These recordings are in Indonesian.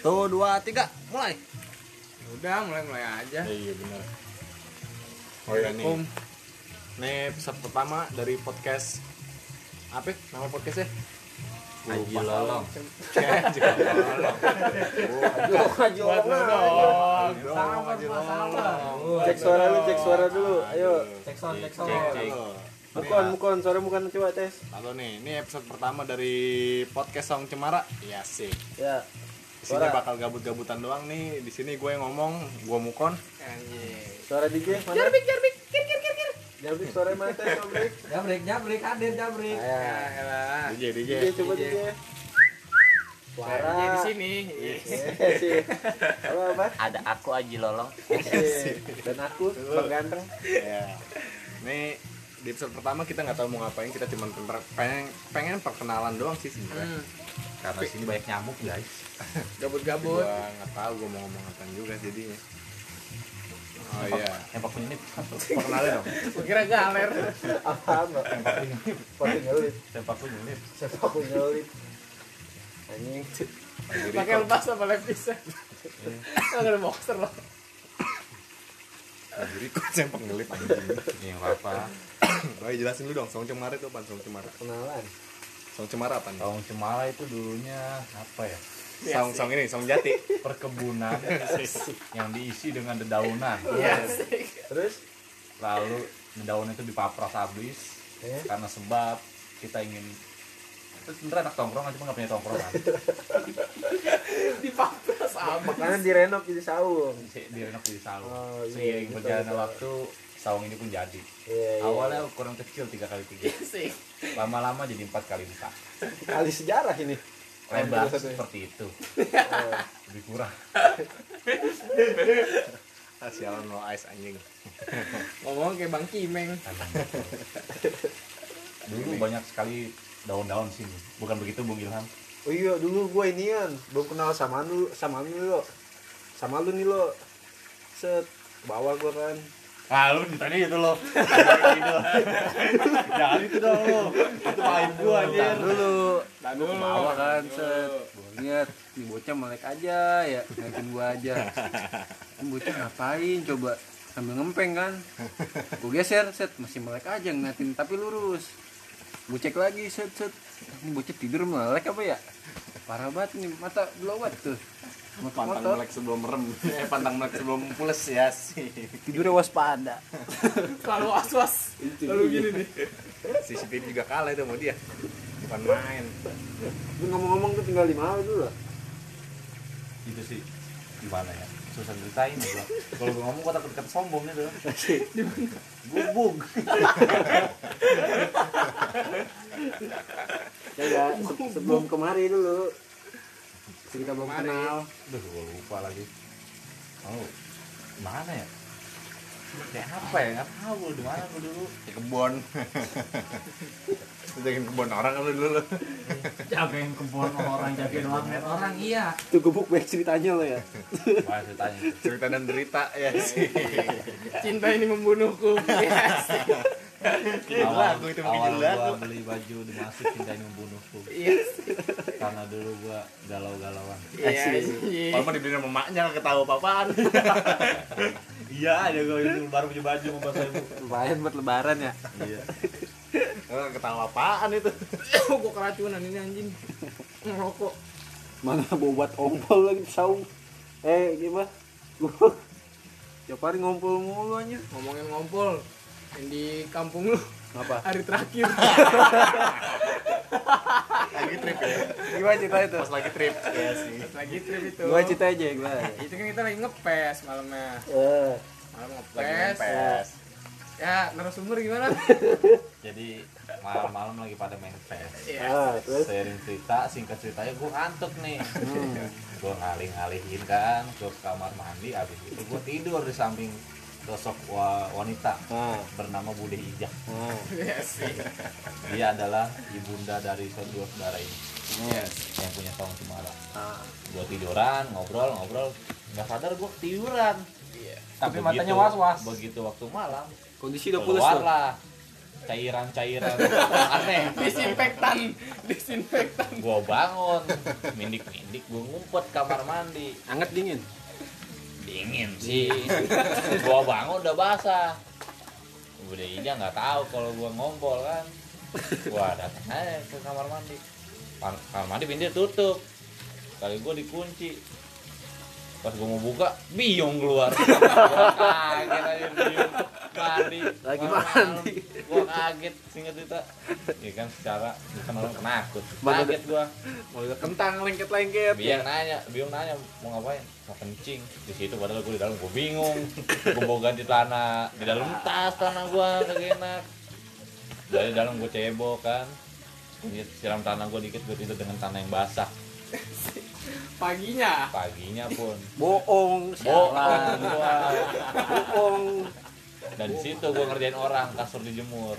Tuh, dua, tiga, mulai. Udah mulai mulai aja. iya benar oh iya nih Om, nih episode pertama dari podcast apa nama podcastnya Haji Lupa. Lolong. Cek, Haji Lolong. Haji Buat lu dong. Haji Lolong, Sabar, Haji Pak, Lolong. sabar. Cek suara lu, cek suara dulu. Ayo. Cek sound, cek Cek, sound. cek. Bukan, bukan, suara bukan coba tes. Halo nih, ini episode pertama dari podcast Song Cemara. Iya sih. Ya. Isinya Suara. bakal gabut-gabutan doang nih. Di sini gue yang ngomong, gue mukon. Anjing. Suara DJ mana? Jarbik, jarbik, kir kir kir kir. Jarbik suara mana tes, jarbik? Jabrik, jabrik, hadir jabrik. Ah, elah. DJ, DJ. DJ coba DJ. Suara. Kayaknya di sini. Iya sih. Apa apa? Ada aku Haji Lolong. Iya. Dan aku Bang Ganteng. Ya. Nih di episode pertama kita nggak tahu mau ngapain, kita cuma pemper- pengen pengen perkenalan doang sih sebenarnya. Hmm, Karena sini banyak nyamuk, guys. Gabut-gabut. Gua nggak tahu gua mau ngomong apa juga jadinya. Oh iya, Empat menit. perkenalin dong. Gua kira galer. Apa apa? Pakai ngelit. Empat menit. Siapa aku ngelit? Anjing. Lagi Pakai record, lepas sama lab bisa. Enggak ada boxer loh. lagi record Nah, yang penggelip anjing. Iya, nggak apa. Roy jelasin dulu dong, song cemara itu apaan? Song cemara. Kenalan. Song cemara apaan? Oh, Tahun Cemara itu dulunya apa ya? iya Song song ini, song jati. Perkebunan yang diisi dengan dedaunan. Iya sih. Terus? Lalu dedaunan itu dipapras habis Eh? karena sebab kita ingin Terus sebenernya anak tongkrongan cuma nggak punya kan. tongkrongan Di papras sama. Makanan direnov jadi saung. Direnov di salon Oh, iya, Seiring gitu, berjalannya gitu. waktu saung ini pun jadi Iya, iya. Awalnya ukuran kecil 3 kali 3 Iya sih. Lama-lama jadi 4 kali 4 kali sejarah ini. Lebar Satu-satu. seperti itu Oh. Lebih kurang Ah, Sialan lo ice anjing. Ngomong kayak Bang Kimeng. Dulu banyak sekali daun-daun sini Bukan begitu Bung Ilham Oh iya dulu gue inian belum kenal sama lu sama lu lo sama lu nih lo set bawa gue kan Ah lu ditanya itu loh Jangan itu dong lo Itu pahit gua anjir dulu dan dulu bawa kan set gua lihat nih bocah melek aja ya ngeliatin gua aja ini bocah ngapain coba sambil ngempeng kan gua geser set masih melek aja ngeliatin tapi lurus gua cek lagi set set ini bocah tidur melek apa ya parah banget nih mata belawat tuh Pantang motor melek sebelum merem. Eh, pantang melek sebelum pules ya sih. tidurnya waspada Selalu was-was. Lalu gini nih. Si Siti juga kalah itu sama dia. Bukan main. lu ngomong-ngomong tuh tinggal lima hari dulu lah Itu sih gimana ya susah ceritain ya gua. kalau gua ngomong gua takut kata sombong gitu gubuk ya ya se- sebelum kemari dulu cerita belum kenal Aduh, gue lupa lagi. Oh, mana ya? Kayak apa ya? Nggak tahu gue di mana gue dulu. Di kebon. Jagain kebon orang kan lu dulu. jagain kebun orang jagain orang orang iya tuh gebuk banyak ceritanya lo ya Mana ceritanya? Cerita dan derita ya sih. Cinta ini membunuhku. Iya sih. Awal, lagu itu bikin awal lagu. gue beli baju di masjid cinta yang membunuhku Iya sih. karena dulu gue galau-galauan. Iya Asik. sih. Kalau mau dibeliin sama emaknya nggak ketahu apa-apaan. Iya, ada gue itu baru punya baju sama bahasa ibu. lumayan buat lebaran ya Iya. Nggak ketahu Eh, apaan itu. Gua keracunan ini anjing. Ngerokok. mana bau buat ompol lagi saung eh gimana gue tiap hari ngompol mulu aja Ngomongin ngompol. Yang di kampung lu apa hari terakhir. Lagi trip ya. gimana cerita itu Pas lagi trip ya sih. Lagi trip itu. gua cerita aja ya, gua itu kan kita lagi ngepes malamnya eh malam Lagi ngepes ngepes. ya narasumber gimana Jadi malam-malam lagi pada main PS. ya ah, terus Sering cerita, singkat ceritanya gue ngantuk nih. Hmm. gue ngalih-ngalihin kan ke kamar mandi habis itu gue tidur di samping sosok wa- wanita Nah, bernama Bude Ijah nah, ya sih dia adalah ibunda dari kedua saudara ini yang punya tahun cemara nah. gue tiduran ngobrol ngobrol nggak sadar gue ketiduran Iya. Tapi matanya was-was. begitu waktu malam Kondisi udah pulas tuh. keluarlah cairan-cairan aneh Disinfektan, disinfektan. gua bangun mindik-mindik gua ngumpet kamar mandi Anget dingin. dingin sih Iya. gua bangun udah basah udah Ija nggak tahu kalau gua ngompol kan gua datang aja ke kamar mandi Kam- kamar mandi pintu tutup kali gua dikunci pas gua mau buka biong keluar gua kaget aja biong mandi Lagi Malam-malam. mandi. gua kaget singkat cerita ya kan secara bukan orang penakut Mana- kaget gua Mau lihat kentang lengket-lengket. Biang nanya, Biong nanya mau ngapain? Mau kencing. Di situ padahal gue di dalam gue bingung. gue mau ganti celana di dalam tas celana gue kagak enak. Dari dalam gue cebok kan. Gue siram tanah gue dikit gue tidur dengan tanah yang basah. Paginya. Paginya pun Bohong, bohong sialan. gue. Bohong. Dan di situ gue ngerjain orang kasur dijemur.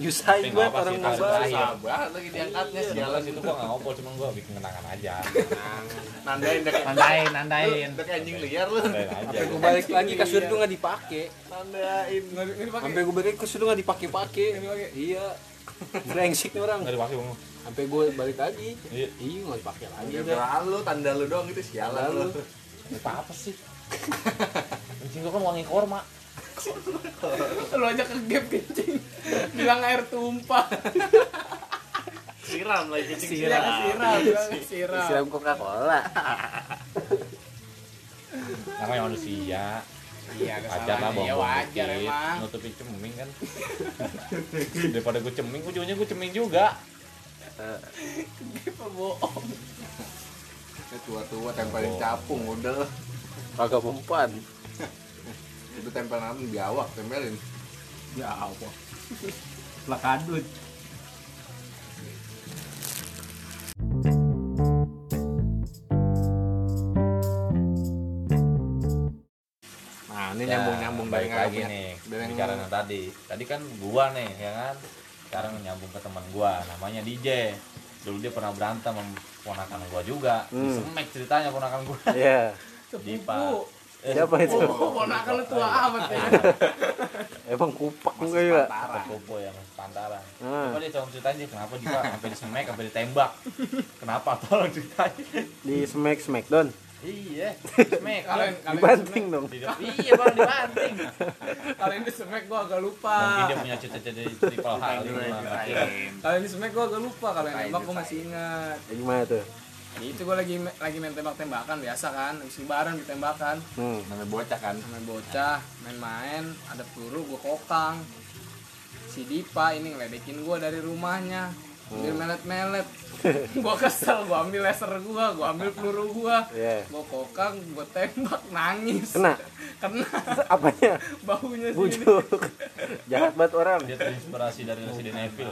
Nyusahin Tapi gue nggak apa orang sih, mau kalau bahas. Iya. Sabar lagi diangkatnya Jalan situ gue nggak ngobrol cuman gue bikin kenangan aja. Nandain dek. Nandain, nandain. Dek anjing liar lu. Nandain aja. Sampai gue balik lagi kasur itu nggak dipakai. Nandain. Nggak nggak dipakai. Sampai gue balik kasur itu nggak dipakai-pakai. Iya. Brengsek nih orang. Nggak dipakai bang. Sampai gue balik lagi. Iya. Iya nggak dipakai lagi. Udah dah. berlalu tanda lu doang itu sialan lu. Lalu Apa apa sih? Kencing gue kan wangi korma. Lu aja ke gap kencing. Bilang air tumpah. Siram lagi kencing Bilang siram, bilang siram. siram Coca-Cola. namanya manusia Iya, wajar lah Iya, bohong wajar dikit emang. nutupin ceming kan daripada gue ceming ujungnya gue ceming juga Gap bohong. Ya, tua-tua tempelin Oh. capung udah lah. Kagak mempan. Itu tempel apa? Biawak tempelin. Ya Allah. Nah, ini Ya, nyambung-nyambung balik lagi ngabunya. nih Dari yang- bicara yang tadi tadi kan gua nih ya kan sekarang nyambung ke teman gua namanya DJ dulu dia pernah berantem sama ponakan gua juga semek ceritanya ponakan gua Iya. Dipa Sepupu. Eh, Siapa itu? Oh, ponakan lu tua amat ya. Emang kupak enggak ya? Sepupu yang pantaran Hmm. Coba dia tolong ceritain dia kenapa Dipa sampai disemek sampai ditembak kenapa tolong ceritain Di smack smackdown. iya semek Kalian kalian Dibanting dong. Di depan- iya bang dibanting kalian di semek gua agak lupa. mungkin dia punya cita-cita di triple hal gitu lah nggak kira. Kalian di semek gua agak lupa kalian nembak gua masih ingat. Ya, Gimana tuh? Itu gua lagi lagi main tembak-tembakan biasa kan, habis lebaran kan. ditembakan. Hmm. namanya bocah kan. main bocah main-main ada peluru gue kokang si Dipa ini ngeledekin gue dari rumahnya ambil melet-melet gue kesel gue ambil laser gue gue ambil peluru gue Iya. gue kokang gue tembak nangis Kena? kena Apanya? baunya sih Bujuk. Jahat banget orang. dia terinspirasi dari Resident Evil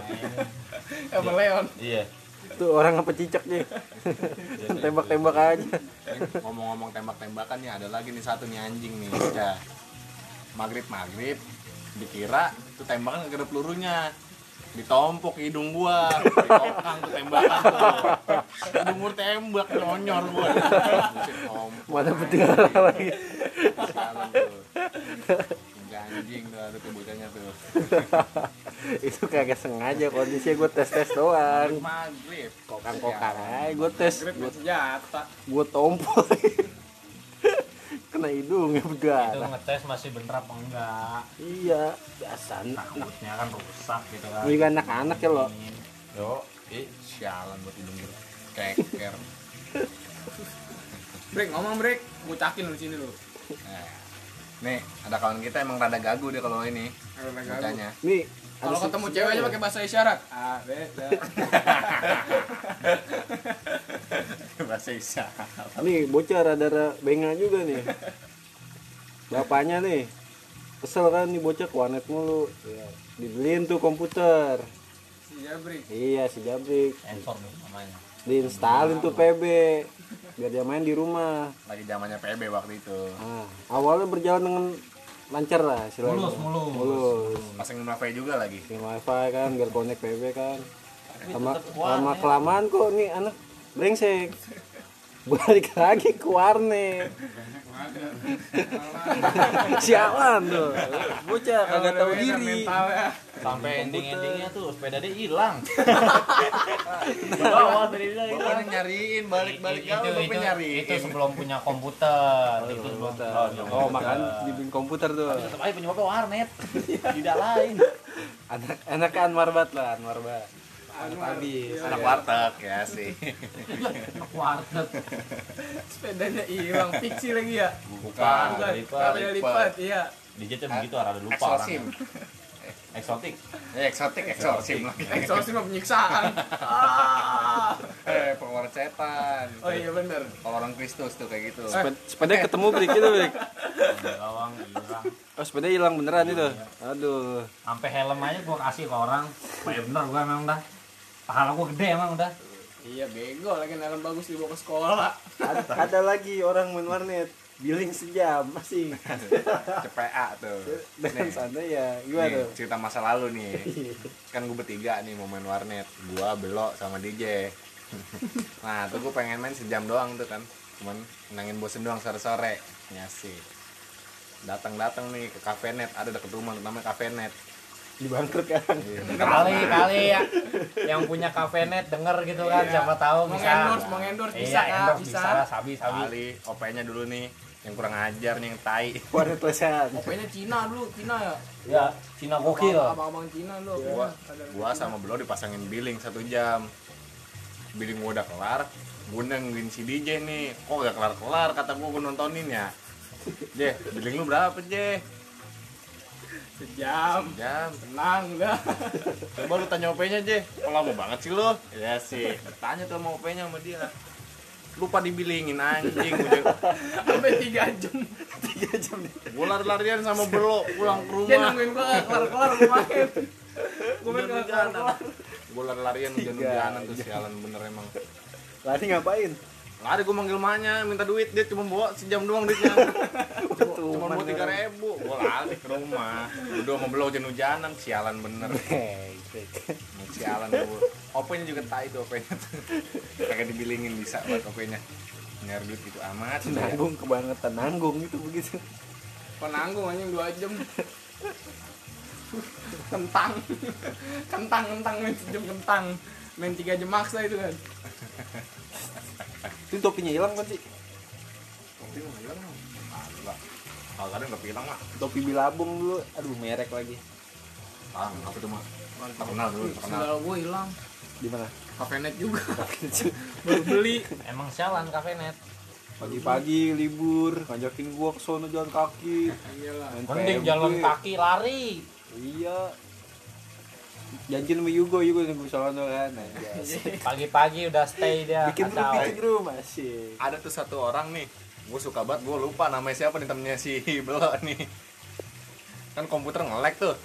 sama Leon iya Tuh orang apa cicak dia. Tembak-tembak aja. Eh, Ngomong-ngomong tembak-tembakan nih ada lagi nih satu nih anjing nih. Ya. Maghrib maghrib dikira tuh tembakan gak ada pelurunya ditompok hidung gua ditokang tuh tembakan tuh hidung gua tembak nyonyor gua Buset, tompok Mana petinggal lagi. sialan tuh. Udah anjing tuh ada tuh bocahnya tuh Itu kagak sengaja kondisinya gue tes-tes doang. maghrib Kokang-kokang aja gue Eh, tes. grip dan senjata Gue tompol. Kena ya, hidungnya itu berdarah. ngetes masih bener apa enggak Iya, biasa. Nah, takutnya kan rusak gitu kan juga anak-anak ya lo. yo Ih, sialan buat hidung gua keker break ngomong break gue cakin lu di sini lu Nah, nih ada kawan kita emang rada gagu deh kalau ini Aduh, agak gagu. bocahnya Nih, kalau ada ketemu si- cewek aja pakai bahasa isyarat ah beda bahasa isyarat Nih bocah rada-rada bengal juga nih. Bapaknya nih kesel kan nih bocah ke warnet mulu. Dibeliin tuh komputer. iya break Iya si Jabrik. sensor nih namanya Diinstalin tuh PB biar dia main di rumah. lagi zamannya PB waktu itu Nah, awalnya berjalan dengan lancar lah istilahnya. mulus mulus, Mulus. pasang wifi juga lagi Bikin wifi kan biar connect PB kan. Lama, tetep warnet. lama kelamaan kok nih anak brengsek. Balik lagi ke warnet. Sialan tuh. Bocah kagak tahu Udah beda diri. mentalnya sampai ending endingnya eh. tuh sepeda dia hilang bawa dari dia hilang Bapaknya nyariin balik-balik Itu- kali itu, bapak nyariin. itu sebelum punya komputer itu sebelum Komputer. Oh, makan dibikin komputer tuh. Tapi tetap aja penyebabnya warnet tidak lain Anak anaknya Anwar Bat lah, Anu Anwar Bat. habis anak warteg ya sih. warnet sepedanya hilang fiksi lagi ya bukan bukan lipat sepeda lipat iya dijatnya begitu ada lupa Eksorsim. orang eksotik Eh, eksotik eksorsim lagi. eksorsis mah penyiksaan ah. Eh, pengeluaran setan. oh iya bener Kalau orang Kristus tuh kayak gitu. Seped- sepeda ketemu Brik itu, Brik. gawang hilang Oh, sepeda hilang beneran itu. Aduh. sampai helm aja gua kasih ke orang Bayar bener gua emang dah pahala gua gede emang udah iya bego lagi dalam bagus dibawa ke sekolah ada, ada lagi orang main warnet billing sejam masih CPA tuh. dengan Nih, santai ya nih, gimana cerita masa lalu nih. Kan gue bertiga nih mau main warnet. Gua belok sama DJ. Nah, tuh gue pengen main sejam doang tuh kan. Cuman nangin bosen doang sore-sore. Ya sih. Datang-datang nih ke Cafe Net, ada deket rumah namanya Cafe Net. Iya. dibangkrut kan kali kali ya yang punya kafe net denger gitu kan siapa tahu bisa Iya, Mengendorse, mengendorse, bisa, Kak, endorse bisa. bisa lah, sabi sabi Kali OP-nya dulu nih yang kurang ajar nih yang tai. warnet lesan pokoknya Cina dulu Cina ya ya Cina Iya. gokil abang-abang Cina lu gua gua sama Belo dipasangin billing satu jam billing gua udah kelar gua nungguin si DJ nih kok gak kelar kelar kata gua gua nontonin ya Jeh, billing lu berapa Jeh? sejam Jam, tenang udah coba lu tanya OP-nya Jeh Kok lama banget sih lu? Ya sih, tanya tuh sama OP-nya sama dia Lupa dibilingin anjing Gua- sampai tiga jam Gua lari-larian sama Belo pulang ke dia rumah nungguin gua kelar-kelar gua main gua main Iya. Hujan-hujanan. kelar-kelar Gua lari-larian hujan-hujanan tuh sialan bener emang lari ngapain Lari gua manggil emaknya, minta duit, dia cuma bawa sejam doang duitnya Cuma bawa tiga ribu, gua lari ke rumah Udah mau belok hujan-hujanan, sialan bener Sialan gua OP-nya juga tai tuh OP-nya tuh Kagak dibilingin bisa buat OP-nya Nyari duit gitu amat saya. nanggung kebangetan nanggung gitu begitu penanggung anjing dua jam kentang kentang kentang main sejam kentang main tiga jam maksa itu kan itu topinya hilang kan sih Tapi mau bilang dong. Kagak Kalau kadang gak bilang mah topi bilabung dulu aduh merek lagi Ah, apa tuh mah Terkenal dulu, terkenal sendal gue hilang di mana kafenet juga baru beli emang sialan kafe net pagi-pagi libur ngajakin gua ke sono jalan kaki iyalah main mending PMB. jalan kaki lari iya janji sama Yugo Yugo nunggu sono kan aja pagi-pagi udah stay dia bikin grup kacau bikin grup masih ada tuh satu orang nih gue suka banget gue lupa namanya siapa nih temennya si Belo nih kan komputer nge-lag tuh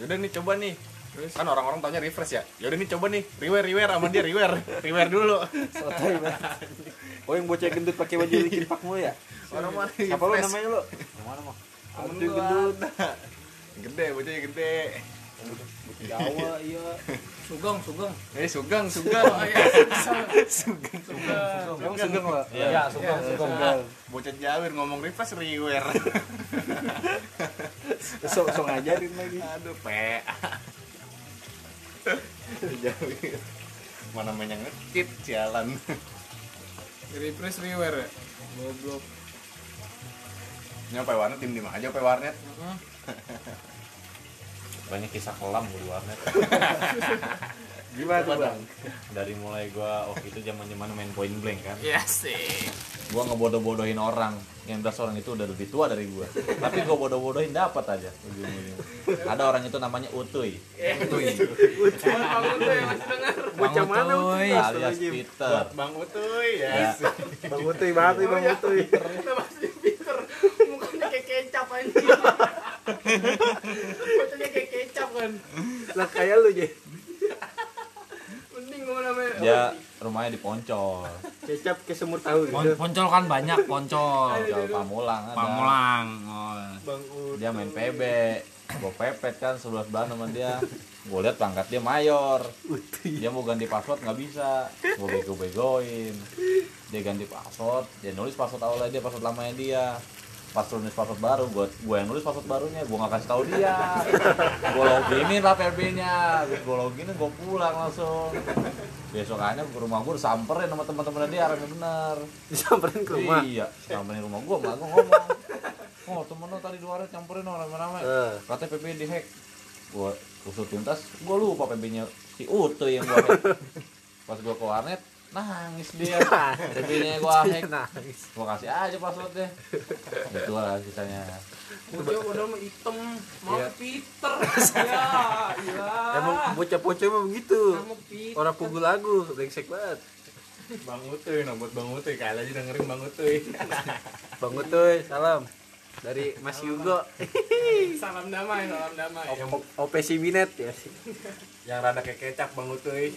yaudah nih coba nih kan orang-orang taunya refresh ya yaudah nih coba nih reware reware sama dia reware reware dulu sotoy banget oh yang bocah gendut pakai baju bikin pak mulu ya orang mana apa lo namanya lo Yang mana, Mo? Artu gendut gede bocahnya gede Jawa iya sugeng sugeng eh sugang sugang emang sedang lo iya sugeng sugeng bocah jawir ngomong refresh reware sok sok ngajarin lagi aduh pe jawir mana namanya ngekit jalan refresh reward ya goblok nyampe warnet tim tim aja pe warnet banyak kisah kelam gua di warnet gimana tuh bang dari mulai gua waktu itu zaman zaman main point blank kan ya sih gua ngebodoh-bodohin orang yang belas orang itu udah lebih tua dari gua tapi gua bodoh-bodohin dapat aja ujung-ujung. ada orang itu namanya utuy bangun tuh yang masih dengar bocah mana Utuy? alias Astagfirullahaladzim. Peter bang utuy Ya. ya sih. bang Utuy banget nih bang Utuy kita masih pinter mukanya kayak kecap anjing mukanya kayak kecap kan lah kayak lu je mending gua namanya Ya. dia rumahnya di Poncol kecap ke semur tahu gitu Pon- poncol kan banyak poncol Poncol Pamulang ada pamulang oh. bang Utuy dia main PB gua pepet kan sebelah sebelah sama dia gua lihat pangkat dia mayor dia mau ganti password nggak bisa gua bego begoin dia ganti password dia nulis password awalnya dia password lamanya dia pas lu nulis password baru gua gua yang nulis password barunya gua nggak kasih tahu dia gua loginin lah PLB nya gua loginin gua pulang langsung besokannya ke rumah gua disamperin sama teman-teman dia arahnya benar disamperin ke rumah iya samperin rumah gua malah gua ngomong oh temen lu tadi di luar campurin orang rame-rame Eh. katanya PB di hack gua kusut tuntas gua lupa PB nya si Utu yang gua hack pas gua ke warnet nangis dia PB nya gua hack nangis gua kasih aja passwordnya itu lah sisanya Bocah udah mah hitam, mau Peter. Ya, iya. emang bocah-bocah emang gitu. begitu Nama Peter. orang pukul lagu brengsek banget Bang Utuy, nah buat Bang Utuy, kali aja dengerin Bang Utuy. bang Utoy salam dari Mas Yugo Salam damai, salam damai. OPC Binet ya sih Yang rada kayak kecap Bang Utuy.